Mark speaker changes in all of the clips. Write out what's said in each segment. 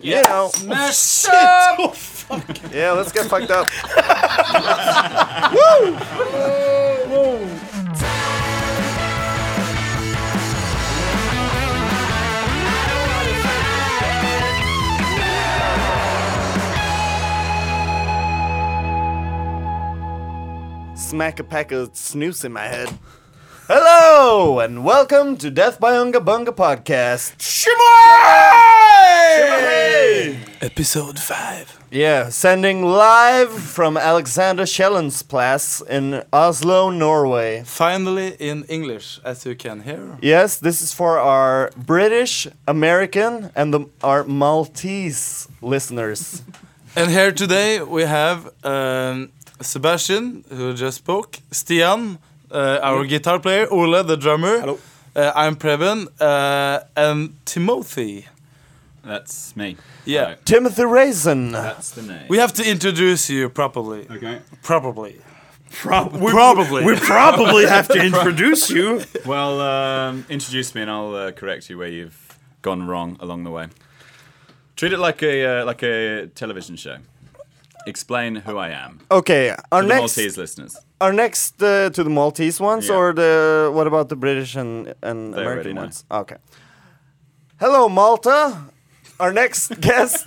Speaker 1: You know.
Speaker 2: Messed up.
Speaker 1: Yeah, let's get fucked up. Woo! Smack a pack of snooze in my head. Hello and welcome to Death by Unga Bunga podcast.
Speaker 3: Episode 5.
Speaker 1: Yeah, sending live from Alexander Schellens Place in Oslo, Norway.
Speaker 3: Finally in English, as you can hear.
Speaker 1: Yes, this is for our British, American, and the, our Maltese listeners.
Speaker 3: And here today we have um, Sebastian, who just spoke, Stian, uh, our guitar player, Ole, the drummer. Hello. Uh, I'm Preben, uh, and Timothy.
Speaker 4: That's me.
Speaker 3: Yeah.
Speaker 4: Alright,
Speaker 1: Timothy Raisin.
Speaker 4: that's the name.
Speaker 3: We have to introduce you properly.
Speaker 4: okay.
Speaker 3: Probably.
Speaker 4: Prob-
Speaker 3: Probably.
Speaker 2: We probably have to introduce you.
Speaker 4: well, um, introduce me and I'll uh, correct you where you've gone wrong along the way. Treat it like a uh, like a television show. Explain who I am to
Speaker 1: Okay, our
Speaker 3: Oh,
Speaker 4: the
Speaker 1: next,
Speaker 4: Maltese listeners.
Speaker 1: our next uh, to the Maltese ones,
Speaker 4: Yeah.
Speaker 1: or the what about the British and, and
Speaker 4: They already
Speaker 1: American
Speaker 4: know.
Speaker 1: ones? Okay. Hello, Malta. Our next guest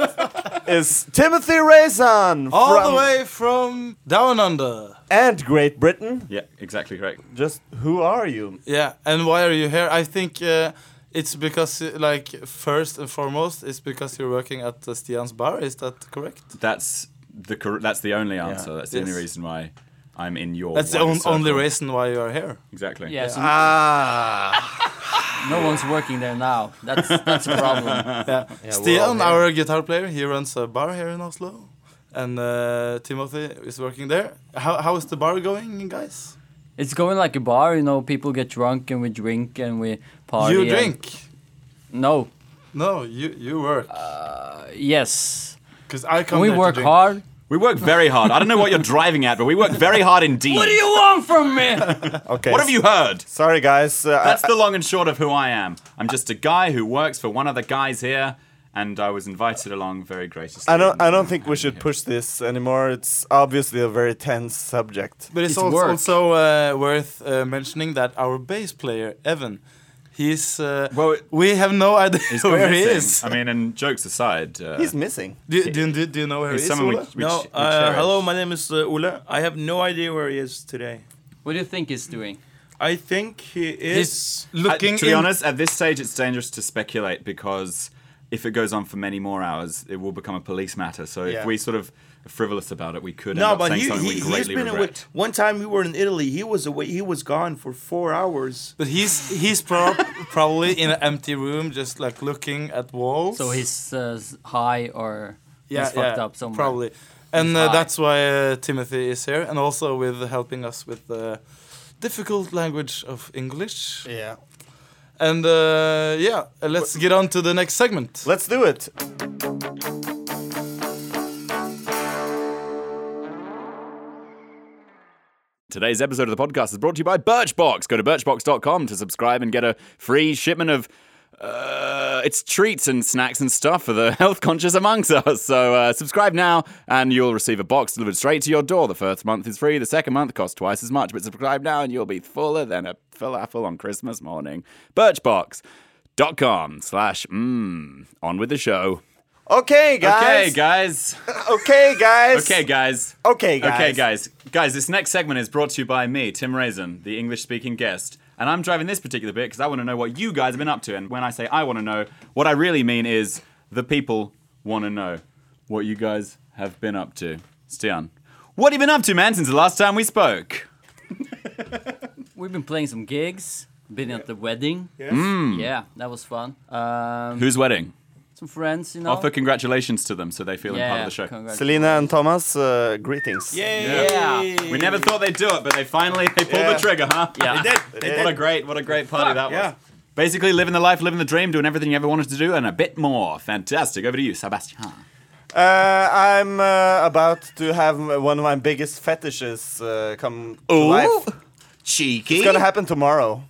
Speaker 1: is Timothy Raisin
Speaker 3: All
Speaker 1: from-
Speaker 3: the way from Down Under.
Speaker 1: and Great Britain.
Speaker 4: Yeah, exactly correct.
Speaker 1: Just who are you?
Speaker 3: Yeah, and why are you here? I think uh, it's because, uh, like, first and foremost, it's because you're working at uh, Stian's bar. Is that correct?
Speaker 4: That's the cor- that's the only answer. That's the
Speaker 3: Yes.
Speaker 4: only reason why I'm in your.
Speaker 3: That's the
Speaker 4: wider
Speaker 3: on, only
Speaker 4: circle.
Speaker 3: reason why you are here.
Speaker 4: Exactly.
Speaker 5: Yeah, so
Speaker 1: Ah.
Speaker 5: no one's working there now. That's that's a problem.
Speaker 3: Yeah. Stian, our guitar player, he runs a bar here in Oslo, and uh, Timothy is working there. How how is the bar going, guys?
Speaker 5: It's going like a bar, you know. People get drunk and we drink and we party.
Speaker 3: you
Speaker 5: and-
Speaker 3: drink?
Speaker 5: No. uh,
Speaker 3: No, you you work.
Speaker 5: Yes.
Speaker 3: Cause I come.
Speaker 5: And we
Speaker 3: here to
Speaker 5: work
Speaker 3: drink.
Speaker 5: hard.
Speaker 4: We work very hard. I don't know what you're driving at, but we work very hard indeed.
Speaker 5: What do you want from me?
Speaker 1: Okay.
Speaker 4: What have you heard?
Speaker 1: Sorry, guys. Uh,
Speaker 4: That's
Speaker 1: I-
Speaker 4: the long and short of who I am. I'm just a guy who works for one of the guys here, and I was invited along very graciously.
Speaker 1: I don't. I don't think we should push this anymore. It's obviously a very tense subject.
Speaker 3: But it's,
Speaker 5: It's
Speaker 3: als-
Speaker 5: work.
Speaker 3: also uh, worth uh, mentioning that our bass player Evan, he's uh,
Speaker 4: Well, it-
Speaker 3: we have no idea
Speaker 4: He's
Speaker 3: where he
Speaker 4: missing.
Speaker 3: is.
Speaker 4: I mean, and jokes aside, uh,
Speaker 1: He's missing.
Speaker 3: Do, do, do, do you know where he
Speaker 4: He's
Speaker 3: is?
Speaker 4: someone we-
Speaker 3: Ola?
Speaker 4: we-
Speaker 2: No,
Speaker 4: ch- we
Speaker 2: uh,
Speaker 4: cherish.
Speaker 2: hello, my name is uh, Ole. I have no idea where he is today.
Speaker 5: What do you think he's doing?
Speaker 2: I think he is.
Speaker 3: He's
Speaker 4: Uh,
Speaker 3: looking.
Speaker 4: to be
Speaker 3: in-
Speaker 4: honest, at this stage, it's dangerous to speculate because if it goes on for many more hours, it will become a police matter. So
Speaker 1: Yeah.
Speaker 4: if we sort of are frivolous about it, we could end
Speaker 2: no,
Speaker 4: up
Speaker 2: but
Speaker 4: saying
Speaker 2: he,
Speaker 4: something
Speaker 2: he,
Speaker 4: we
Speaker 2: he's
Speaker 4: greatly
Speaker 2: been away.
Speaker 4: regret.
Speaker 2: One time we were in Italy. He was away. He was gone for four hours.
Speaker 3: But he's he's prob probably in an empty room, just like looking at walls.
Speaker 5: So he's uh, s- high or he's fucked up somewhere.
Speaker 3: Probably, and uh,
Speaker 5: high.
Speaker 3: that's why uh, Timothy is here, and also with helping us with the difficult language of English.
Speaker 1: Yeah.
Speaker 3: And uh, yeah, uh, let's get on to the next segment.
Speaker 1: Let's do it.
Speaker 4: Today's episode of the podcast is brought to you by Birchbox. Go to birchbox.com to subscribe and get a free shipment of uh, it's treats and snacks and stuff for the health conscious amongst us. So uh, subscribe now and you'll receive a box delivered straight to your door. The first month is free, the second month costs twice as much, but subscribe now and you'll be fuller than a falafel on Christmas morning. Birchbox.com slash mmm. On with the show.
Speaker 1: Okay, guys.
Speaker 4: Okay, guys.
Speaker 1: Okay, guys.
Speaker 4: Okay, guys.
Speaker 1: Okay, guys.
Speaker 4: Okay, guys. Guys, this next segment is brought to you by me, Tim Raisin, the English speaking guest. And I'm driving this particular bit because I want to know what you guys have been up to. And when I say I want to know, what I really mean is the people want to know what you guys have been up to. Stian, what have you been up to, man, since the last time we spoke?
Speaker 5: We've been playing some gigs. Been at the wedding.
Speaker 2: Yes.
Speaker 4: Mm.
Speaker 5: Yeah, that was fun. Um,
Speaker 4: Whose wedding?
Speaker 5: some friends, you know.
Speaker 4: Offer congratulations to them so they feel
Speaker 5: yeah,
Speaker 4: in part of the show.
Speaker 5: congrats.
Speaker 1: Selena and Thomas, uh, greetings.
Speaker 5: Yeah.
Speaker 4: We never thought they'd do it, but they finally they pulled
Speaker 2: Yeah.
Speaker 4: the trigger, huh?
Speaker 5: Yeah. They did.
Speaker 4: What a great, what a great party that was.
Speaker 2: yeah.
Speaker 4: Basically, living the life, living the dream, doing everything you ever wanted to do, and a bit more. Fantastic. Over to you, Sebastian.
Speaker 1: Uh, I'm uh, about to have one of my biggest fetishes uh, come to life.
Speaker 4: cheeky.
Speaker 1: It's gonna happen tomorrow,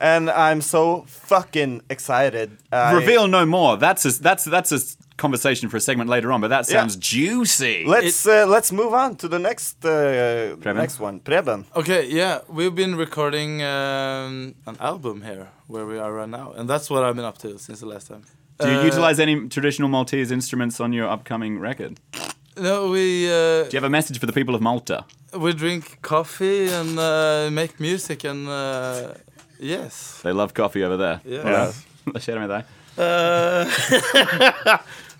Speaker 1: and I'm so fucking excited. I-
Speaker 4: Reveal no more. That's a that's that's a conversation for a segment later on, but that sounds juicy.
Speaker 1: Let's uh, let's move on to the next uh,
Speaker 4: Preben?
Speaker 1: next one. Preben.
Speaker 3: Okay, yeah, we've been recording um, an album here where we are right now, and that's what I've been up to since the last time.
Speaker 4: Do you
Speaker 3: Uh,
Speaker 4: utilize any traditional Maltese instruments on your upcoming record? Do
Speaker 3: No, we uh,
Speaker 4: you have a message for the people of Malta?
Speaker 3: we drink coffee and uh, make music and uh, yes,
Speaker 4: They love coffee over there.
Speaker 3: Yeah.
Speaker 4: Well, share with that.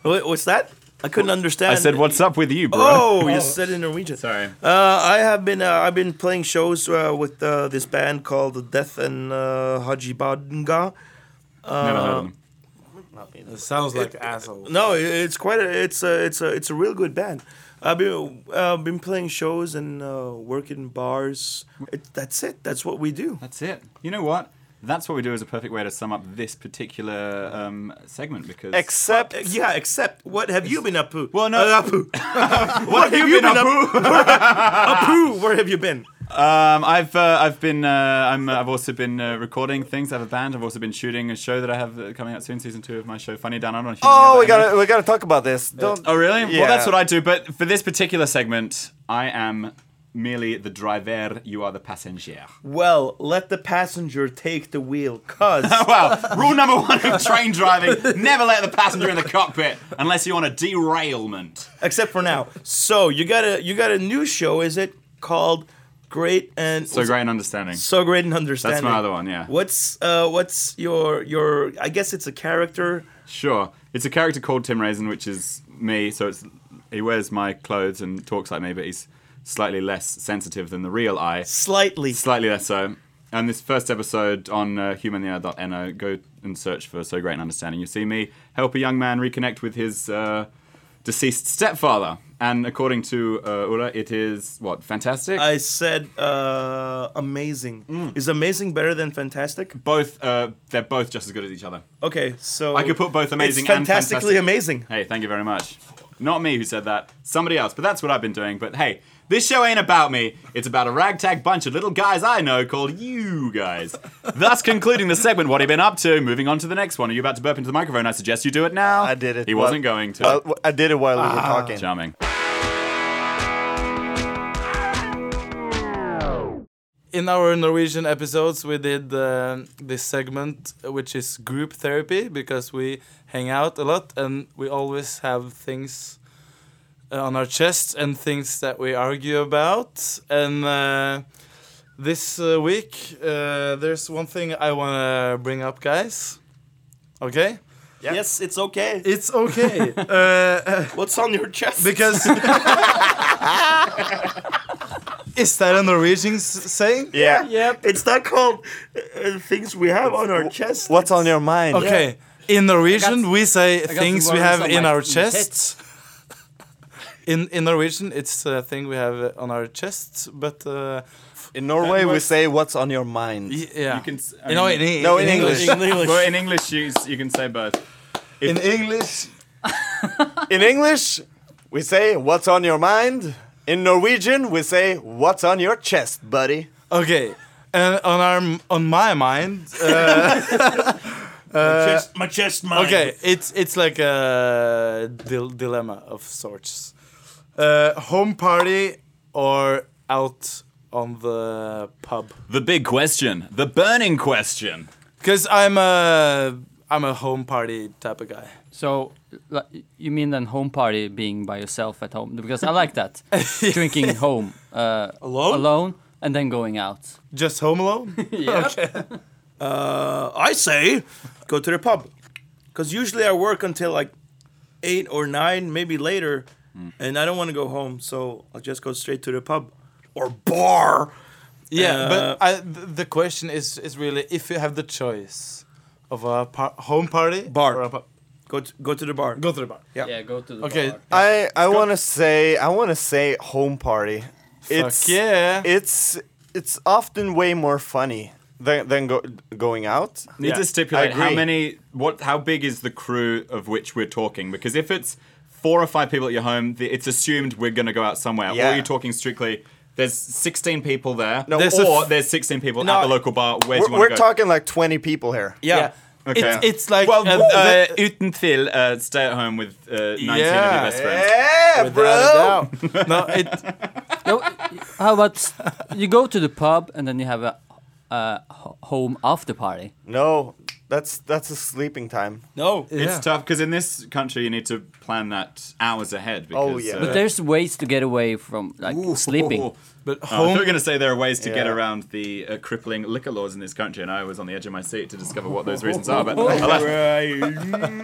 Speaker 2: Wait, what's that? I couldn't understand.
Speaker 4: I said, "What's up with you, bro?"
Speaker 2: Oh, you said in Norwegian.
Speaker 4: sorry.
Speaker 2: Uh, I have been uh, I've been playing shows uh, with uh, this band called The Death and uh, Haji Badanga.
Speaker 4: Never heard of them.
Speaker 3: it sounds like asshole.
Speaker 2: No, i- it's quite a it's a it's a it's a real good band. I've been uh, been playing shows and uh, working bars. It, that's it. That's what we do.
Speaker 4: That's it. You know what? That's what we do is a perfect way to sum up this particular um, segment because
Speaker 1: Except
Speaker 2: Yeah, except what have you been up to?
Speaker 4: Well, no.
Speaker 2: Uh, up to? what have you been up to? Up to? Where have you been?
Speaker 4: um, I've uh, I've been uh, I'm, I've also been uh, recording things. I have a band. I've also been shooting a show that I have uh, coming out soon, season two of my show Funny Down Under. on Human
Speaker 1: oh,
Speaker 4: Yellow
Speaker 1: we
Speaker 4: Hammer.
Speaker 1: gotta we gotta talk about this. Don't.
Speaker 4: Oh, really?
Speaker 1: Yeah.
Speaker 4: Well, that's what I do. But for this particular segment, I am merely the driver. You are the passenger.
Speaker 2: Well, let the passenger take the wheel, cause
Speaker 4: Wow. Rule number one of train driving: never let the passenger in the cockpit unless you want a derailment.
Speaker 2: except for now. So you got a you got a new show, is it called Great and
Speaker 4: So great an understanding.
Speaker 2: So Great and Understanding?
Speaker 4: other one, yeah.
Speaker 2: What's uh what's your your I guess it's a character.
Speaker 4: Sure. It's a character called Tim Raisin, which is me. So it's he wears my clothes and talks like me, but he's slightly less sensitive than the real I.
Speaker 2: Slightly.
Speaker 4: Slightly less so. And this first episode on uh, humania.no, go and search for So Great an Understanding. You see me help a young man reconnect with his uh, deceased stepfather. And according to uh, Ula, it is, what, fantastic?
Speaker 2: I said uh amazing.
Speaker 4: Mm.
Speaker 2: Is amazing better than fantastic?
Speaker 4: both, uh, they're both just as good as each other.
Speaker 2: Okay, so
Speaker 4: I could put both amazing
Speaker 2: It's
Speaker 4: and
Speaker 2: fantastically
Speaker 4: fantastic.
Speaker 2: amazing.
Speaker 4: Hey, thank you very much. Not me who said that, somebody else, but that's what I've been doing. But hey, this show ain't about me. It's about a ragtag bunch of little guys I know called you guys. Thus concluding the segment, what have you been up to? Moving on to the next one. Are you about to burp into the microphone? I suggest you do it now.
Speaker 1: I did it. Oh.
Speaker 4: He
Speaker 1: while-
Speaker 4: wasn't going to.
Speaker 1: while- I did it while we were talking.
Speaker 4: Charming.
Speaker 3: In our Norwegian episodes, we did uh, this segment, which is group therapy, because we hang out a lot and we always have things uh, on our chests and things that we argue about. And uh, this uh, week, uh, there's one thing I want to bring up, guys. Okay?
Speaker 2: Yes, it's okay.
Speaker 3: It's okay. uh,
Speaker 2: What's on your chest?
Speaker 3: because. is that a Norwegian s- saying?
Speaker 1: Yeah.
Speaker 2: Yep. It's not called uh, things we have on our chest.
Speaker 1: What's on your mind?
Speaker 3: Okay. In Norwegian,
Speaker 5: got-
Speaker 3: we say
Speaker 5: got
Speaker 3: things
Speaker 5: some
Speaker 3: we
Speaker 5: words
Speaker 3: have
Speaker 5: on
Speaker 3: in
Speaker 5: my
Speaker 3: our
Speaker 5: feet.
Speaker 3: chests. in in Norwegian, it's a thing we have uh, on our chests, but uh,
Speaker 1: In Norway, we say what's on your mind.
Speaker 3: y- yeah.
Speaker 4: You can s- I
Speaker 3: you know,
Speaker 4: mean-
Speaker 3: in, E-
Speaker 1: No, in English.
Speaker 2: In English.
Speaker 4: Well, in English, you, you can say both.
Speaker 3: In English.
Speaker 1: In English, we say what's on your mind. In Norwegian, we say what's on your chest, buddy.
Speaker 3: Okay. And on our on my mind, uh,
Speaker 2: chest, my chest, mine.
Speaker 3: okay, it's it's like a dil- dilemma of sorts. Uh, home party or out on the pub.
Speaker 4: The big question. The burning question.
Speaker 3: Because I'm a I'm a home party type of guy.
Speaker 5: So li- you mean then home party being by yourself at home? Because I like that. Drinking home. Uh,
Speaker 2: Alone?
Speaker 5: Alone and then going out.
Speaker 3: Just home alone.
Speaker 5: Yeah.
Speaker 2: Uh, I say, go to the pub, because usually I work until like eight or nine, maybe later,
Speaker 4: Hmm.
Speaker 2: and I don't want to go home, so I'll just go straight to the pub or bar.
Speaker 3: Yeah,
Speaker 2: Uh,
Speaker 3: but I, th- the question is is really if you have the choice of a par- home party
Speaker 2: Bar.
Speaker 3: or a pub,
Speaker 2: Go to, go to the bar.
Speaker 3: go to the bar.
Speaker 5: yeah, go to the
Speaker 3: Okay.
Speaker 5: bar.
Speaker 1: I I want to say I want to say home party.
Speaker 3: Fuck yeah.
Speaker 1: It's it's often way more funny than than go, going out.
Speaker 4: Need
Speaker 2: Yeah,
Speaker 4: to stipulate
Speaker 1: I
Speaker 4: how
Speaker 1: agree.
Speaker 4: many, what, how big is the crew of which we're talking? Because if it's four or five people at your home, the, it's assumed we're going to go out somewhere.
Speaker 1: Yeah.
Speaker 4: Or you're talking strictly. There's 16 people there,
Speaker 1: No,
Speaker 4: there's
Speaker 1: There's
Speaker 3: a
Speaker 4: or
Speaker 3: f-
Speaker 4: there's 16 people
Speaker 2: No,
Speaker 4: at the local bar. Where do
Speaker 1: We're,
Speaker 4: you want
Speaker 1: we're
Speaker 4: to go?
Speaker 1: talking like 20 people here.
Speaker 2: Yeah.
Speaker 3: Yeah.
Speaker 4: Okay.
Speaker 3: It's, it's like
Speaker 4: well,
Speaker 3: an-
Speaker 4: uh, uten tvil, uh, stay at home with uh, 19 of your
Speaker 3: Yeah.
Speaker 4: best friends.
Speaker 1: Yeah, bro.
Speaker 3: without a doubt. no, it,
Speaker 5: No, how about s- you go to the pub and then you have a, a ho- home after party?
Speaker 1: No, that's that's a sleeping time.
Speaker 2: No.
Speaker 4: It's
Speaker 3: yeah.
Speaker 4: tough because in this country you need to plan that hours ahead. Because, uh,
Speaker 1: Oh, yeah.
Speaker 5: But there's ways to get away from like sleeping.
Speaker 3: But
Speaker 4: Oh,
Speaker 3: home
Speaker 4: we are going to say there are ways to get
Speaker 1: Yeah.
Speaker 4: around the uh, crippling liquor laws in this country, and I was on the edge of my seat to discover what those reasons are. But I'll ask-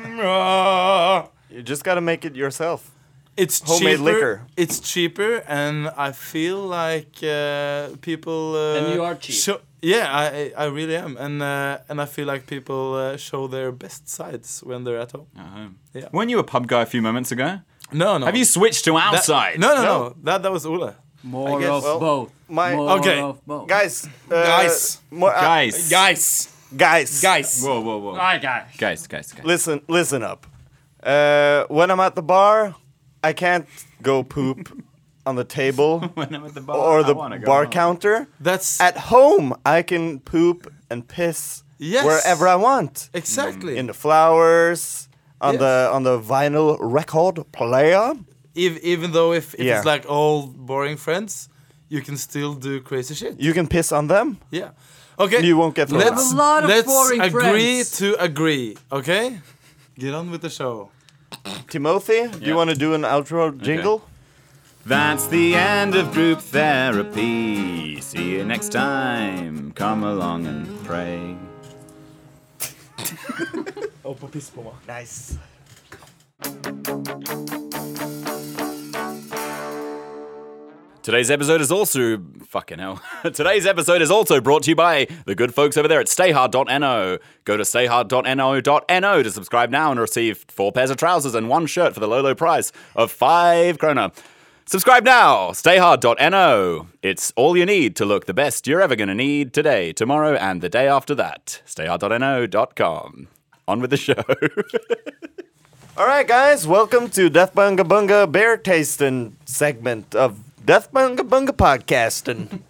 Speaker 1: You just gotta make it yourself.
Speaker 3: it's
Speaker 1: Homemade
Speaker 3: cheaper.
Speaker 1: liquor.
Speaker 3: It's cheaper, and I feel like uh, people. Uh,
Speaker 5: And you are cheap.
Speaker 3: show- yeah, I I I really am, and uh, and I feel like people uh, show their best sides when they're at home.
Speaker 4: At home.
Speaker 3: Yeah.
Speaker 4: uh, Weren't you a pub guy a few moments ago?
Speaker 3: No, no.
Speaker 4: Have you switched to
Speaker 3: that,
Speaker 4: outside?
Speaker 3: No, no, no, That that was Ola.
Speaker 5: More
Speaker 1: guess-
Speaker 5: of
Speaker 1: well,
Speaker 5: both.
Speaker 1: my-
Speaker 5: More
Speaker 3: Okay.
Speaker 5: of both.
Speaker 1: Guys, uh,
Speaker 2: Guys.
Speaker 1: more, uh,
Speaker 4: Guys.
Speaker 2: Guys.
Speaker 1: guys,
Speaker 2: Guys.
Speaker 4: Whoa, whoa, whoa.
Speaker 5: Hi, guys.
Speaker 4: Guys, guys, guys.
Speaker 1: Listen, listen up. Uh, when I'm at the bar, I can't go poop on the table
Speaker 4: When I'm at the bar,
Speaker 1: or
Speaker 4: I
Speaker 1: the
Speaker 4: wanna go
Speaker 1: bar
Speaker 4: home.
Speaker 1: counter.
Speaker 3: That's
Speaker 1: At home, I can poop and piss
Speaker 3: Yes.
Speaker 1: wherever I want.
Speaker 3: exactly.
Speaker 1: Mm, In the flowers, on
Speaker 3: Yes.
Speaker 1: the on the vinyl record player.
Speaker 3: Ev- even though if, if it's
Speaker 1: Yeah.
Speaker 3: like all boring friends, you can still do crazy shit.
Speaker 1: You can piss on them.
Speaker 3: Yeah. Okay.
Speaker 1: You won't get thrown
Speaker 3: let's,
Speaker 5: out. A lot of
Speaker 3: let's
Speaker 5: boring
Speaker 3: agree
Speaker 5: friends.
Speaker 3: to agree. Okay. Get on with the show.
Speaker 1: Timothy, do
Speaker 4: Yeah.
Speaker 1: you want to do an outro jingle?
Speaker 4: That's the end of group therapy. See you next time. Come along and pray.
Speaker 1: Nice.
Speaker 4: Today's episode is also fucking hell. Today's episode is also brought to you by the good folks over there at stayhard.no. Go to stayhard.no.no to subscribe now and receive four pairs of trousers and one shirt for the low low price of five krona. Subscribe now, stayhard.no. It's all you need to look the best you're ever gonna need today, tomorrow, and the day after that. Stayhard.no.com. On with the show.
Speaker 1: All right, guys, welcome to Death Bunga Bunga Bear Tasting segment of Death Bunga Bunga Podcasting.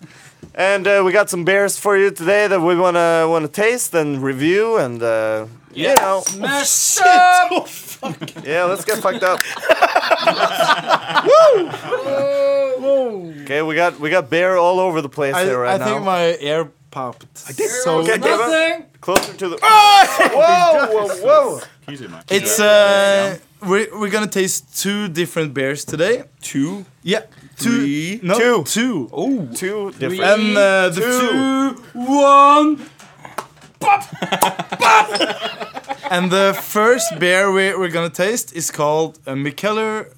Speaker 1: and uh, we got some bears for you today that we wanna wanna taste and review and uh, you know,
Speaker 3: Smash
Speaker 1: yeah, let's get fucked up. Woo! Okay, we got we got bear all over the place
Speaker 3: I,
Speaker 1: there right now.
Speaker 3: I think my ear popped. I did so.
Speaker 1: Okay, give it
Speaker 5: Nothing.
Speaker 1: closer to the. whoa, whoa, whoa!
Speaker 3: It's uh, we're, we're gonna taste two different beers today.
Speaker 2: Two.
Speaker 3: Yeah, two,
Speaker 2: Three.
Speaker 1: Two.
Speaker 3: no, two.
Speaker 1: Two different.
Speaker 3: And uh, the two, one, and the first beer we, we're gonna taste is called uh, Mikeller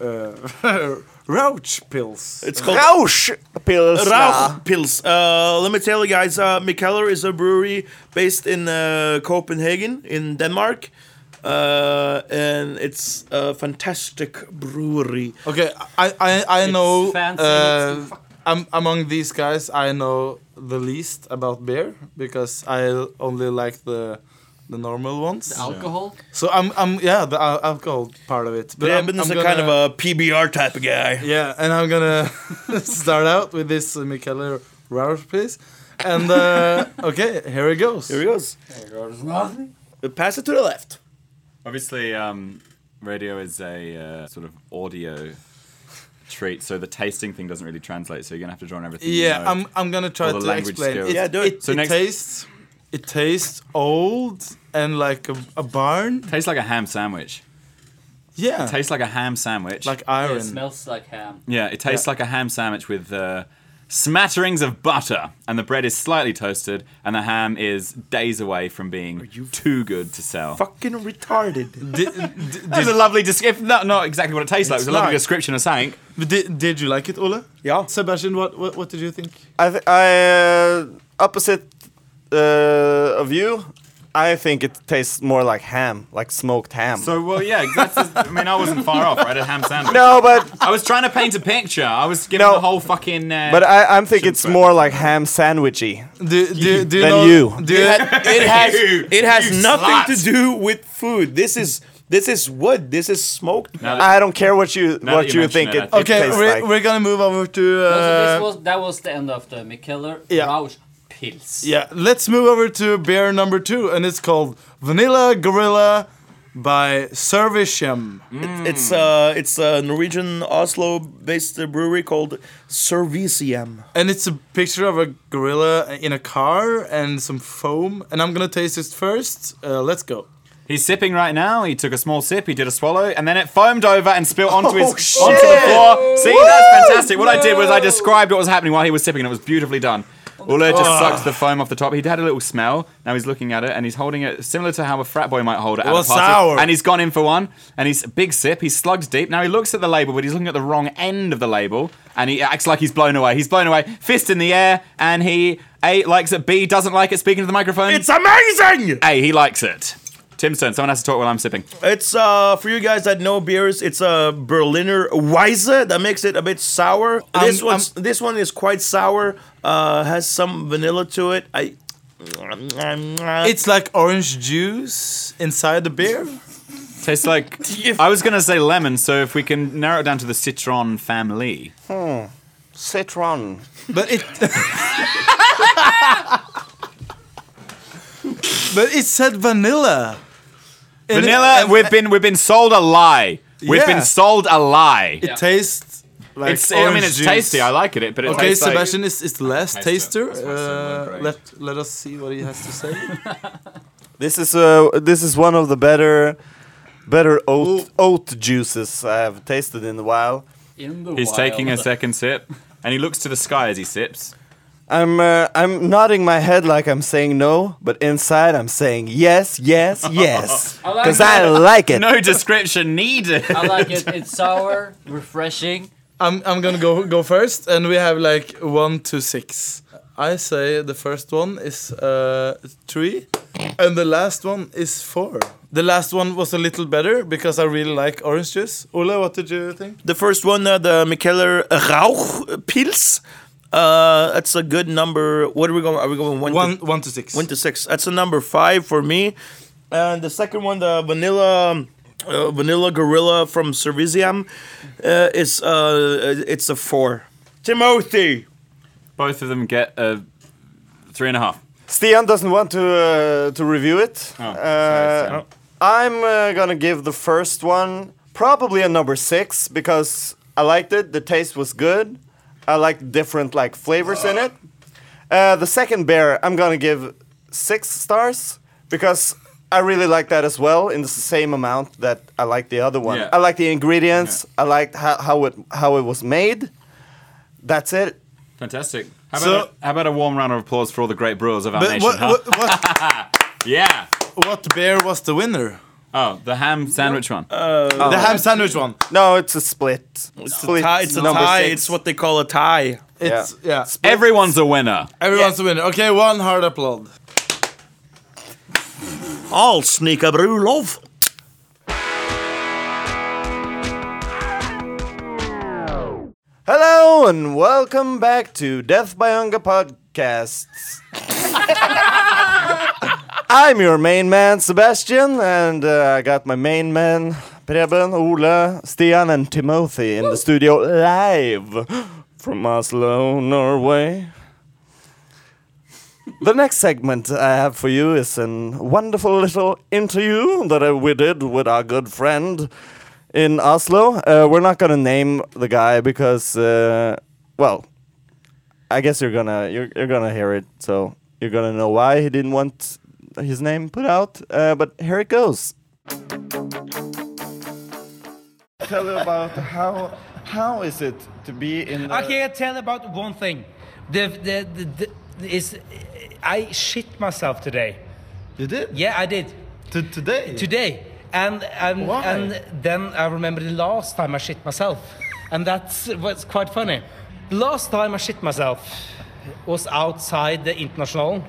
Speaker 3: uh, Rauch Pils.
Speaker 2: It's called
Speaker 1: Rausch Pilsner.
Speaker 2: Rauch Pils. Uh, let me tell you guys, uh, Mikkeller is a brewery based in uh, Copenhagen, in Denmark. Uh, and it's a fantastic brewery.
Speaker 3: Okay, I I, I know.
Speaker 5: fancy,
Speaker 3: Uh,
Speaker 5: it's-
Speaker 3: am among these guys, I know the least about beer because I only like the the normal ones.
Speaker 5: Alcohol.
Speaker 3: So I'm I'm yeah the al- alcohol part of it. But
Speaker 2: But
Speaker 3: I'm,
Speaker 2: Eben is
Speaker 3: I'm
Speaker 2: a kind of
Speaker 3: gonna-
Speaker 2: a PBR type of guy.
Speaker 3: Yeah, and I'm gonna start out with this uh, Michele Rausch piece. And uh, okay, here it goes.
Speaker 2: Here he goes. Uh, Pass it to the left.
Speaker 4: Obviously, um, radio is a uh, sort of audio treat, so the tasting thing doesn't really translate. So you're gonna have to draw on everything. you
Speaker 3: yeah, um,
Speaker 4: know.
Speaker 3: I'm I'm gonna try
Speaker 4: All the
Speaker 3: to
Speaker 4: language
Speaker 3: explain.
Speaker 4: skills.
Speaker 3: It,
Speaker 2: Yeah, do it.
Speaker 3: It,
Speaker 4: So
Speaker 3: it
Speaker 4: next-
Speaker 3: tastes it tastes old and like a, a barn.
Speaker 4: Tastes like a ham sandwich.
Speaker 3: Yeah,
Speaker 4: Tastes like a ham sandwich.
Speaker 3: like
Speaker 5: Yeah, it
Speaker 3: iron.
Speaker 5: smells like ham.
Speaker 4: yeah, it tastes like a ham sandwich with uh, smatterings of butter, and the bread is slightly toasted, and the ham is days away from being too good to sell.
Speaker 2: Fucking retarded.
Speaker 3: Di- di-
Speaker 4: That was a lovely description. Not, not exactly what it tastes like. It was a
Speaker 3: It's
Speaker 4: lovely
Speaker 3: nice.
Speaker 4: description of something.
Speaker 3: di- did, you like it, Ola?
Speaker 2: Yeah.
Speaker 3: Sebastian, what, what what did you think?
Speaker 1: I, th- I uh, opposite uh, of you. I think it tastes more like ham, like smoked ham.
Speaker 4: So well, yeah. That's I mean, I wasn't far off, right? A ham sandwich.
Speaker 1: no, but
Speaker 4: I was trying to paint a picture. I was giving
Speaker 1: No.
Speaker 4: the whole fucking. Uh,
Speaker 1: but I, I'm think it's more like ham sandwichy.
Speaker 3: Do, do, do you
Speaker 1: Than
Speaker 3: know,
Speaker 1: you.
Speaker 3: Do you
Speaker 2: It has
Speaker 4: You-
Speaker 2: it has
Speaker 4: you
Speaker 2: nothing
Speaker 4: slut.
Speaker 2: to do with food. This is this is wood. This is smoked.
Speaker 4: Now that-
Speaker 1: I don't care what you
Speaker 4: Now that
Speaker 1: what
Speaker 4: you
Speaker 1: you,
Speaker 4: mention
Speaker 1: think
Speaker 4: it,
Speaker 1: it,
Speaker 4: I
Speaker 1: it
Speaker 4: think-
Speaker 3: okay,
Speaker 1: tastes
Speaker 3: we're,
Speaker 1: like.
Speaker 3: we're gonna move over to.
Speaker 5: So
Speaker 3: Uh,
Speaker 5: this was, that was the end of the Mikeller
Speaker 3: yeah.
Speaker 5: Rausch pils.
Speaker 3: Yeah, let's move over to beer number two, and it's called Vanilla Gorilla by Servisham.
Speaker 2: It's uh, it's a Norwegian Oslo-based brewery called Servicium.
Speaker 3: And it's a picture of a gorilla in a car and some foam. And I'm gonna taste this first. Uh, let's go.
Speaker 4: He's sipping right now. He took a small sip. He did a swallow, and then it foamed over and spilled onto his
Speaker 1: shit.
Speaker 4: onto the floor. See, that's fantastic. What I did was I described what was happening while he was sipping, and it was beautifully done. Ule just sucks the foam off the top. He had a little smell. Now he's looking at it, and he's holding it similar to how a frat boy might hold it. At
Speaker 3: Well,
Speaker 4: a party.
Speaker 3: sour.
Speaker 4: And he's gone in for one. And he's big sip. He slugged deep. Now he looks at the label, but he's looking at the wrong end of the label, and he acts like he's blown away. He's blown away. Fist in the air, and he a likes it. B doesn't like it. Speaking to the microphone.
Speaker 2: It's amazing.
Speaker 4: Hey, he likes it. Tim's turn. Someone has to talk while I'm sipping.
Speaker 2: It's uh for you guys that know beers. It's a Berliner Weisse that makes it a bit sour. this
Speaker 3: Um,
Speaker 2: one, this one is quite sour. Uh, has some vanilla to it. I.
Speaker 3: It's like orange juice inside the beer.
Speaker 4: Tastes like. I was gonna say lemon, so if we can narrow it down to the citron family.
Speaker 1: Citron.
Speaker 3: But it. but it said vanilla. And it-
Speaker 4: Vanilla,
Speaker 3: and-
Speaker 4: we've been we've been sold a lie. We've
Speaker 3: Yeah.
Speaker 4: been sold a lie.
Speaker 3: It tastes like
Speaker 4: it's, I mean,
Speaker 3: orange
Speaker 4: it's
Speaker 3: juice.
Speaker 4: tasty. I like it, but it
Speaker 3: Okay,
Speaker 4: tastes like-
Speaker 3: Sebastian is, is the last taster.
Speaker 6: That's why I said
Speaker 3: Uh,
Speaker 6: low-grade.
Speaker 3: let let us see what he has to say.
Speaker 1: This is uh this is one of the better better oat oat juices I have tasted in a while.
Speaker 5: In the
Speaker 4: He's
Speaker 5: wild.
Speaker 4: taking a second sip, and he looks to the sky as he sips.
Speaker 1: I'm uh, I'm nodding my head like I'm saying no, but inside I'm saying yes, yes, yes,
Speaker 5: I like
Speaker 1: because I
Speaker 5: it.
Speaker 1: like it.
Speaker 4: No description needed.
Speaker 5: I like it. It's sour, refreshing.
Speaker 3: I'm I'm gonna go go first, and we have like one to six. I say the first one is uh, three, and the last one is four. The last one was a little better because I really like orange juice. Ola, what did you think?
Speaker 2: The first one, uh, the Micheller Rauch Pils. Uh, that's a good number. What are we going? Are we going one?
Speaker 3: One
Speaker 2: to,
Speaker 3: one to six.
Speaker 2: one to six. That's a number five for me. And the second one, the vanilla. um, Uh, vanilla Gorilla from Servizium uh, is uh, it's a four. Timothy,
Speaker 4: Both of them get a three and a half.
Speaker 1: Stian doesn't want to uh, to review it.
Speaker 4: Oh,
Speaker 1: Uh,
Speaker 4: sorry, Stian.
Speaker 1: I'm uh, gonna give the first one probably a number six because I liked it. The taste was good. I liked different like flavors in it. Uh, the second beer I'm gonna give six stars because I really like that as well in the same amount that I like the other one.
Speaker 4: Yeah.
Speaker 1: I like the ingredients. I liked how, how it how it was made. That's it.
Speaker 4: Fantastic. How about,
Speaker 3: So-
Speaker 4: a, how about a warm round of applause for all the great brewers of our
Speaker 3: But
Speaker 4: nation?
Speaker 3: Uh, what,
Speaker 4: huh?
Speaker 3: what, what,
Speaker 4: Yeah.
Speaker 3: what beer was the winner?
Speaker 4: Oh, the ham sandwich one.
Speaker 3: The ham sandwich one.
Speaker 1: No, it's a split. split
Speaker 2: tie, it's a
Speaker 1: number
Speaker 2: tie.
Speaker 1: six.
Speaker 2: It's what they call a tie.
Speaker 3: It's yeah.
Speaker 4: Everyone's a winner.
Speaker 3: Everyone's a winner. Okay, one hard applaud.
Speaker 2: All sneaker brew love.
Speaker 1: Hello and welcome back to Death by Hunger Podcasts. I'm your main man, Sebastian, and uh, I got my main man, Preben, Ole, Stian, and Timothy in the studio live from Oslo, Norway. The next segment I have for you is a wonderful little interview that I- we did with our good friend in Oslo. Uh, we're not gonna name the guy because, uh, well, I guess you're gonna you're, you're gonna hear it, so you're gonna know why he didn't want his name put out. Uh, but here it goes. Tell you about how how is it to be in
Speaker 7: I can tell about one thing. The, the, the, the is I shit myself today.
Speaker 3: You did
Speaker 7: Yeah, I did
Speaker 3: today.
Speaker 7: today. And and
Speaker 3: Why?
Speaker 7: and then I remember the last time I shit myself, and that's was quite funny. The last time I shit myself was outside the international,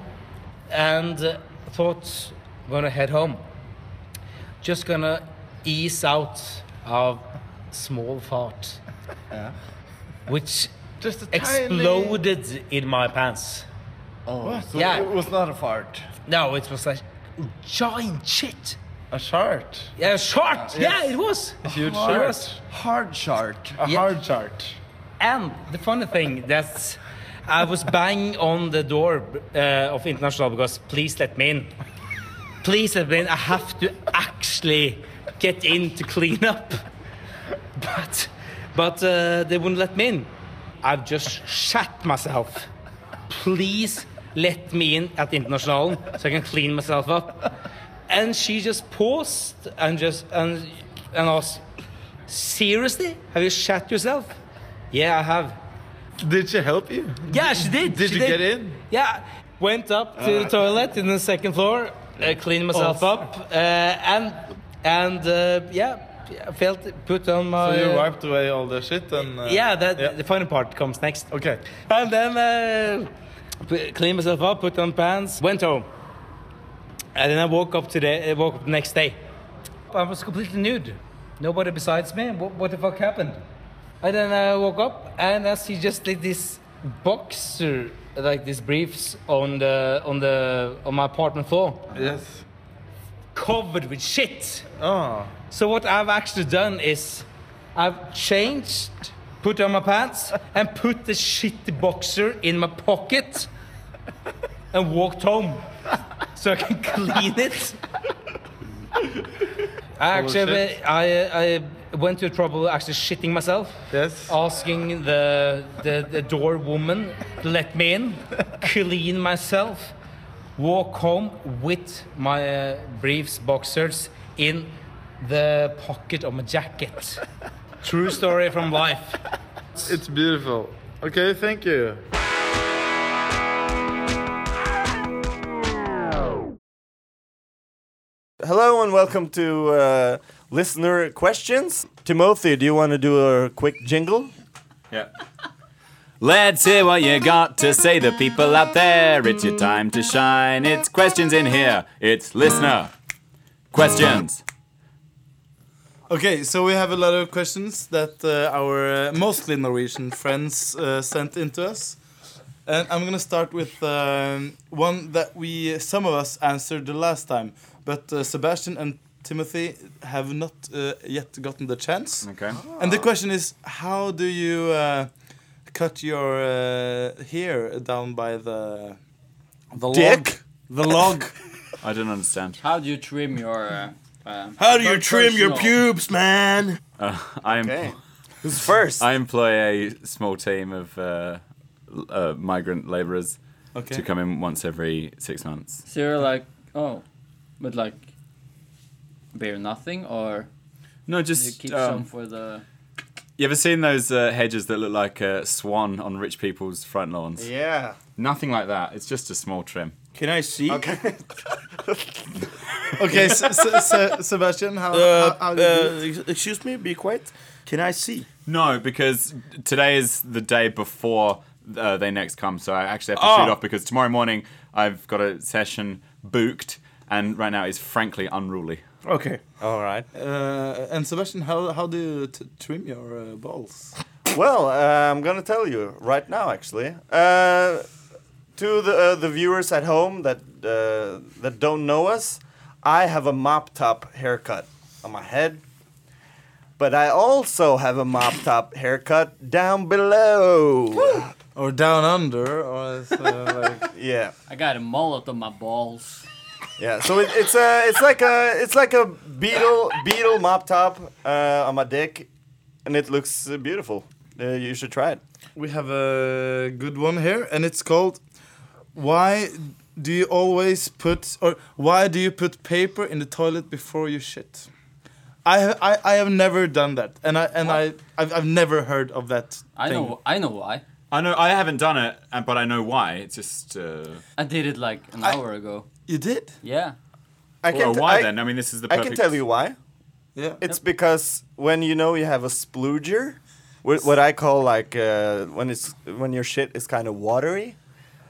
Speaker 7: and uh, thought gonna head home. Just gonna ease out of small fart, which
Speaker 3: Just a
Speaker 7: exploded in my pants. Yeah. it
Speaker 3: Oh. was not a fart.
Speaker 7: No, it was like giant shit.
Speaker 3: A shart.
Speaker 7: Yeah, short. Yeah, it was. A
Speaker 3: huge
Speaker 7: It was.
Speaker 3: Uh, Hard shart.
Speaker 7: Yeah.
Speaker 3: shart.
Speaker 7: And the funny thing that's I was bang on the door uh, of International because please let me in. Please let me in. I have to actually get in to clean up. But, but uh, they wouldn't let me in. I've just shat myself. Please let me in at International so I can clean myself up. And she just paused and just and, and asked, seriously? Have you shat yourself? Yeah, I have.
Speaker 6: Did she help you?
Speaker 7: Yeah, she did.
Speaker 6: Did
Speaker 7: she
Speaker 6: you get in?
Speaker 7: Yeah, went up to the toilet in the second floor, uh, cleaned myself
Speaker 6: Oh.
Speaker 7: up, uh, and and uh, yeah, I felt put on
Speaker 6: So
Speaker 7: my. uh,
Speaker 6: you wiped away all the shit and uh,
Speaker 7: yeah, that the final part comes next.
Speaker 6: Okay.
Speaker 7: And then uh, p- cleaned myself up, put on pants, went home. And then I woke up today. I woke up the next day. I was completely nude. Nobody besides me. What, what the fuck happened? And then I woke up and I see just like this boxer, like these briefs on the on the on my apartment floor,
Speaker 6: Yes.
Speaker 7: covered with shit.
Speaker 6: Oh.
Speaker 7: So what I've actually done is I've changed, put on my pants, and put the shitty boxer in my pocket and walked home so I can clean it. I actually
Speaker 6: shit.
Speaker 7: I, I went to trouble actually shitting myself.
Speaker 6: Yes.
Speaker 7: Asking the, the, the door woman to let me in, clean myself, walk home with my uh, briefs, boxers in the pocket of my jacket. True story from life.
Speaker 6: It's beautiful. Okay, thank you.
Speaker 1: Hello and welcome to uh, listener questions. Timothy, do you want to do a quick jingle?
Speaker 4: Let's hear what you got to say, the people out there. It's your time to shine. It's questions in here. It's listener questions.
Speaker 3: Okay, so we have a lot of questions that uh, our uh, mostly Norwegian friends uh, sent in to us. And I'm gonna start with um, one that we some of us answered the last time, but uh, Sebastian and Timothy have not uh, yet gotten the chance.
Speaker 4: Okay.
Speaker 3: And the question is, how do you uh, cut your uh, hair down by the the
Speaker 1: Dick?
Speaker 3: log? The log.
Speaker 4: I didn't understand.
Speaker 5: How do you trim your? Uh, um,
Speaker 2: How do you trim your
Speaker 5: personal-
Speaker 2: pubes, man?
Speaker 4: I am.
Speaker 1: Okay. Who's first?
Speaker 4: I employ a small team of uh, l- uh, migrant laborers
Speaker 3: Okay.
Speaker 4: to come in once every six months.
Speaker 5: So you're like, oh, but like, bear nothing or
Speaker 4: No,
Speaker 5: do you
Speaker 4: just
Speaker 5: keep
Speaker 4: um,
Speaker 5: some for the?
Speaker 4: you ever seen those uh, hedges that look like a swan on rich people's front lawns?
Speaker 1: yeah.
Speaker 4: Nothing like that. It's just a small trim.
Speaker 2: Can I see?
Speaker 3: Okay, S- S- S- Sebastian, how,
Speaker 2: Uh,
Speaker 3: how, how do you do it?
Speaker 2: uh, ex- excuse me, be quiet. Can I see?
Speaker 4: No, because today is the day before uh, they next come, so I actually have to
Speaker 2: Oh.
Speaker 4: shoot off because tomorrow morning I've got a session booked, and right now it's frankly unruly.
Speaker 2: Okay.
Speaker 1: All right.
Speaker 3: Uh, and Sebastian, how, how do you t- trim your uh, balls?
Speaker 1: Well, uh, I'm gonna tell you right now, actually. Uh, to the uh, the viewers at home that uh, that don't know us, I have a mop top haircut on my head, but I also have a mop top haircut down below.
Speaker 3: Or down under, or is, uh, like
Speaker 1: yeah,
Speaker 5: I got a mullet on my balls.
Speaker 1: yeah. So it, it's a it's like a it's like a beetle beetle mop top uh, on my dick, and it looks uh, beautiful. Uh, you should try it.
Speaker 3: we have a good one here, and it's called "Why do you always put or why do you put paper in the toilet before you shit?" I ha- I, I have never done that, and I and I I've, I've never heard of that.
Speaker 5: I
Speaker 3: thing.
Speaker 5: know, I know why.
Speaker 4: I know I haven't done it, uh, but I know why. It's just uh,
Speaker 5: I did it like an hour ago.
Speaker 3: you did.
Speaker 5: Yeah.
Speaker 1: I
Speaker 4: well,
Speaker 1: t-
Speaker 4: why
Speaker 1: I-
Speaker 4: then? I mean, this is the
Speaker 1: I
Speaker 4: perfect.
Speaker 1: can tell you why.
Speaker 3: Yeah.
Speaker 1: It's because when you know you have a splooger, wh- what I call like uh, when it's when your shit is kind of watery,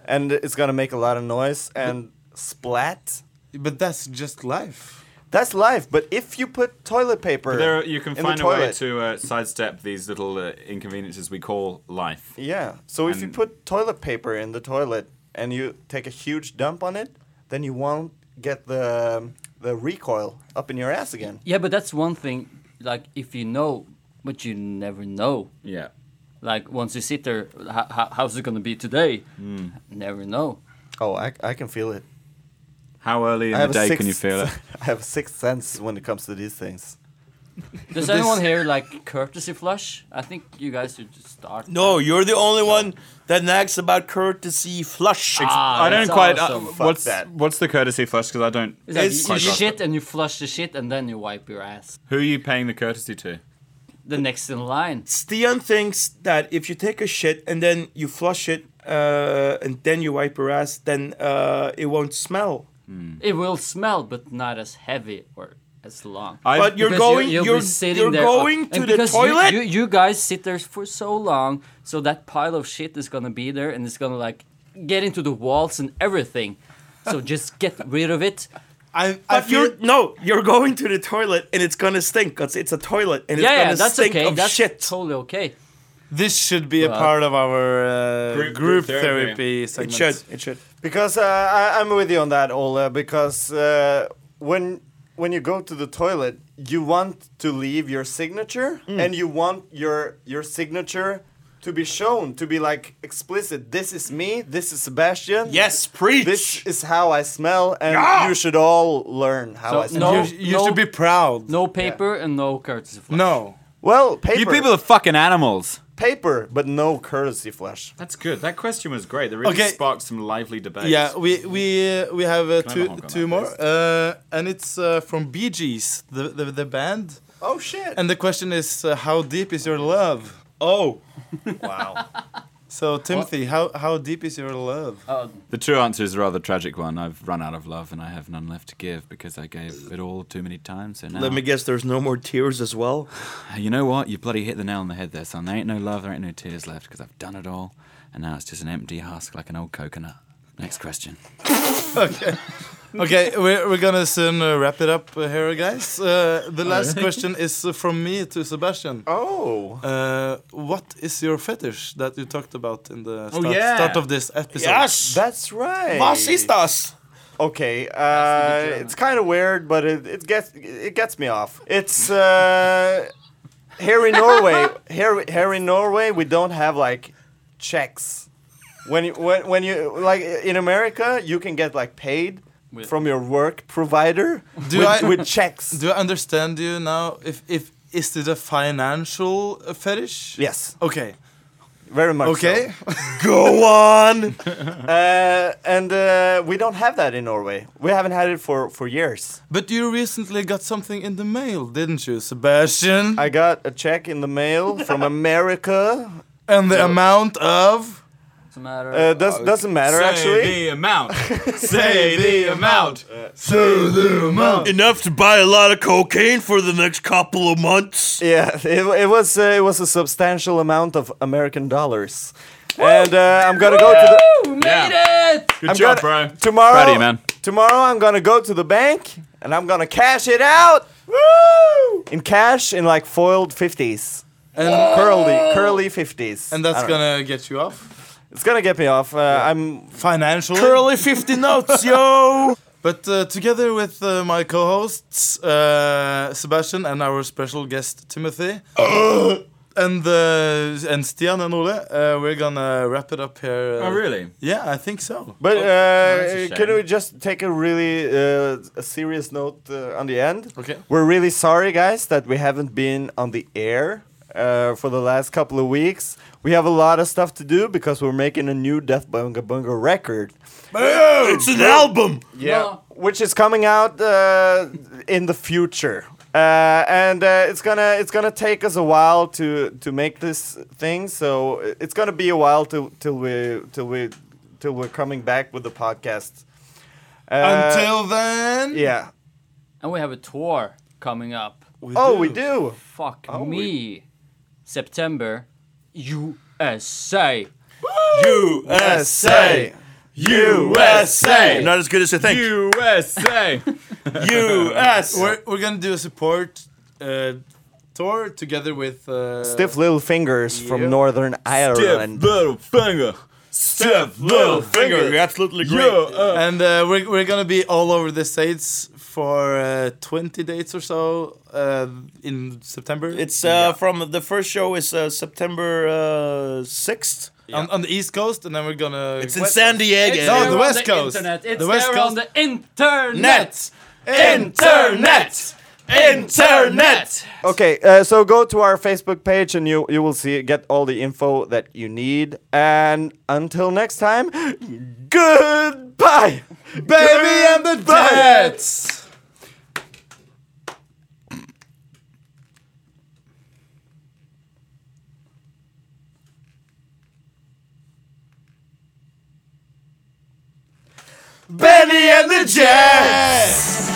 Speaker 1: and it's gonna make a lot of noise and splat.
Speaker 3: but that's just life.
Speaker 1: That's life. But if you put toilet paper,
Speaker 4: There, are- you can
Speaker 1: in the
Speaker 4: find a way
Speaker 1: toilet-
Speaker 4: to uh, sidestep these little uh, inconveniences we call life.
Speaker 1: Yeah. So if you
Speaker 4: And-
Speaker 1: put toilet paper in the toilet and you take a huge dump on it, then you won't get the the recoil up in your ass again.
Speaker 5: Yeah, but that's one thing. Like if you know, but you never know.
Speaker 4: Yeah.
Speaker 5: Like once you sit there, h- h- how's it gonna be today? Never know.
Speaker 1: Oh, I, I can feel it.
Speaker 4: How early in
Speaker 1: I
Speaker 4: the
Speaker 1: have a
Speaker 4: day
Speaker 1: sixth,
Speaker 4: can you feel it?
Speaker 1: I have a sixth sense when it comes to these things.
Speaker 5: Does anyone here like courtesy flush? I think you guys should just start.
Speaker 2: No, you're the only one that nags about courtesy flush.
Speaker 5: Ah,
Speaker 4: I don't
Speaker 5: that's
Speaker 4: quite.
Speaker 5: awesome.
Speaker 4: Uh, what's
Speaker 1: that.
Speaker 4: what's the courtesy flush? Because I don't.
Speaker 5: It's like
Speaker 2: It's
Speaker 5: you
Speaker 2: quite
Speaker 5: you shit and you flush the shit and then you wipe your ass.
Speaker 4: Who are you paying the courtesy to?
Speaker 5: The next in line.
Speaker 2: Stian thinks that if you take a shit and then you flush it uh, and then you wipe your ass, then uh, it won't smell.
Speaker 5: It will smell, but not as heavy or as long.
Speaker 4: I,
Speaker 2: But you're
Speaker 5: Because
Speaker 2: going,
Speaker 5: you'll
Speaker 2: you're,
Speaker 5: be
Speaker 2: you're,
Speaker 5: sitting there- uh,
Speaker 2: going
Speaker 5: and
Speaker 2: to the
Speaker 5: because you-
Speaker 2: toilet.
Speaker 5: You, you guys sit there for so long, so that pile of shit is gonna be there and it's gonna like get into the walls and everything. So just get rid of it.
Speaker 3: I, I
Speaker 2: but
Speaker 3: feel
Speaker 2: you're no, you're going to the toilet and it's gonna stink because it's a toilet and it's
Speaker 5: yeah,
Speaker 2: gonna
Speaker 5: yeah, that's
Speaker 2: stink
Speaker 5: okay.
Speaker 2: of
Speaker 5: That's
Speaker 2: shit.
Speaker 5: totally okay.
Speaker 3: this should be a
Speaker 5: Well,
Speaker 3: part of our uh,
Speaker 4: Group-
Speaker 3: group,
Speaker 4: group therapy.
Speaker 3: therapy,
Speaker 2: it
Speaker 3: segment.
Speaker 2: should, it should.
Speaker 1: Because uh, I, I'm with you on that, Ola. Because uh, when when you go to the toilet, you want to leave your signature, and you want your your signature to be shown, to be like explicit. This is me. This is Sebastian.
Speaker 2: Yes, preach.
Speaker 1: This is how I smell, and you should all learn how
Speaker 5: So
Speaker 1: I smell.
Speaker 5: no-
Speaker 3: You, you should be proud.
Speaker 5: No paper and no courtesy flush.
Speaker 3: No.
Speaker 1: Well, paper,
Speaker 4: you people are fucking animals.
Speaker 1: paper, but no courtesy flush.
Speaker 4: That's good. That question was great. That really
Speaker 3: Okay.
Speaker 4: sparked some lively debate.
Speaker 3: Yeah, we we uh, we have uh,
Speaker 4: I
Speaker 3: two
Speaker 4: honk on that,
Speaker 3: two more, uh, and it's uh, from Bee Gees, the, the the band.
Speaker 1: Oh shit!
Speaker 3: And the question is, uh, how deep is your love?
Speaker 2: oh,
Speaker 1: wow.
Speaker 3: So Timothy, how how deep is your love?
Speaker 4: The true answer is a rather tragic one. I've run out of love and I have none left to give because I gave it all too many times. So now,
Speaker 2: let me guess. There's no more tears as well.
Speaker 4: you know what? You bloody hit the nail on the head there, son. There ain't no love, there ain't no tears left because I've done it all, and now it's just an empty husk like an old coconut. Next question.
Speaker 3: Okay, we're, we're gonna soon uh, wrap it up uh, here, guys. Uh, the last question is uh, from me to Sebastian.
Speaker 1: Oh.
Speaker 3: Uh, what is your fetish that you talked about in the start,
Speaker 4: Oh, yeah.
Speaker 3: start of this episode?
Speaker 1: That's right.
Speaker 2: Vas istas.
Speaker 1: Okay, uh, it's kind of weird, but it, it gets it gets me off. It's uh, here in Norway. Here, here in Norway, we don't have like checks. When you when, when you like in America, you can get like paid
Speaker 5: With-
Speaker 1: from your work provider
Speaker 3: Do
Speaker 1: with,
Speaker 3: I-
Speaker 1: with checks.
Speaker 3: Do I understand you now? If if is it a financial uh, fetish?
Speaker 1: yes,
Speaker 3: Okay.
Speaker 1: very much.
Speaker 3: Okay.
Speaker 1: go on. uh, and uh, we don't have that in Norway. We haven't had it for for years.
Speaker 3: But you recently got something in the mail, didn't you, Sebastian?
Speaker 1: I got a check in the mail from America.
Speaker 3: and the amount of
Speaker 5: It's a matter.
Speaker 1: Uh, does, doesn't matter actually.
Speaker 4: amount. Say the amount.
Speaker 2: Enough to buy a lot of cocaine for the next couple of months.
Speaker 1: Yeah, it, it was uh, it was a substantial amount of American dollars, and uh, I'm gonna go to the
Speaker 5: we made it!
Speaker 4: Good
Speaker 1: I'm
Speaker 4: job,
Speaker 1: gonna-
Speaker 4: bro.
Speaker 1: tomorrow.
Speaker 4: Proud of you, man.
Speaker 1: Tomorrow I'm gonna go to the bank and I'm gonna cash it out. Woo! In cash, in like foiled fifties,
Speaker 3: and
Speaker 1: curly curly fifties,
Speaker 3: and that's
Speaker 1: I don't know.
Speaker 3: gonna get you off
Speaker 1: it's gonna get me off. Uh, I'm
Speaker 3: financially.
Speaker 2: Curly fifty notes, yo.
Speaker 3: But uh, together with uh, my co-hosts uh, Sebastian and our special guest Timothy. And uh, and Stian and Ole, uh, we're gonna wrap it up here. Uh,
Speaker 4: Oh, really?
Speaker 3: Yeah, I think so.
Speaker 1: But
Speaker 4: Oh, that's
Speaker 1: uh,
Speaker 4: a
Speaker 1: can
Speaker 4: shame.
Speaker 1: we just take a really uh, a serious note uh, on the end?
Speaker 3: Okay.
Speaker 1: We're really sorry, guys, that we haven't been on the air uh, for the last couple of weeks. We have a lot of stuff to do because we're making a new Death Bunga Bunga record.
Speaker 2: It's an album.
Speaker 5: No.
Speaker 1: Which is coming out uh, in the future. Uh, and uh, it's gonna it's gonna take us a while to to make this thing, so it's gonna be a while till till we till we till we're coming back with the podcast. Uh,
Speaker 3: Until then.
Speaker 1: yeah.
Speaker 5: And we have a tour coming up.
Speaker 1: oh, we do.
Speaker 5: Fuck
Speaker 1: Oh,
Speaker 5: me. September, USA.
Speaker 1: USA.
Speaker 4: USA.
Speaker 2: Not as good as I think.
Speaker 4: USA.
Speaker 2: U.S.
Speaker 3: We're, we're gonna do a support uh, tour together with uh,
Speaker 1: Stiff little fingers from Northern Ireland.
Speaker 4: little finger. Stiff
Speaker 2: Little finger, you're absolutely great.
Speaker 3: uh, and uh, we're, we're gonna be all over the states for for uh, 20 dates or so uh, in September.
Speaker 2: It's uh, from the first show is uh, September uh, sixth.
Speaker 3: on, on the East Coast, and then we're gonna.
Speaker 2: It's in San Diego.
Speaker 5: It's
Speaker 3: No,
Speaker 5: there
Speaker 3: the
Speaker 5: on
Speaker 3: West Coast.
Speaker 5: Internet. It's
Speaker 3: The West
Speaker 5: there on
Speaker 3: Coast.
Speaker 5: the internet.
Speaker 2: Internet. Internet.
Speaker 1: Okay, uh, so go to our Facebook page and you you will see get all the info that you need. And until next time, goodbye, baby and the Jets. Benny and the Jets.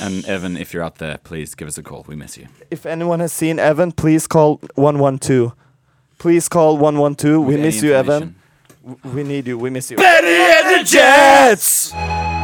Speaker 4: And Evan, if you're out there, please give us a call. We miss you.
Speaker 1: If anyone has seen Evan, please call 112. Please call 112. We
Speaker 4: Any
Speaker 1: miss you, Evan.
Speaker 4: information?
Speaker 1: We need you. We miss you.
Speaker 2: Benny and the Jets.
Speaker 1: Jets!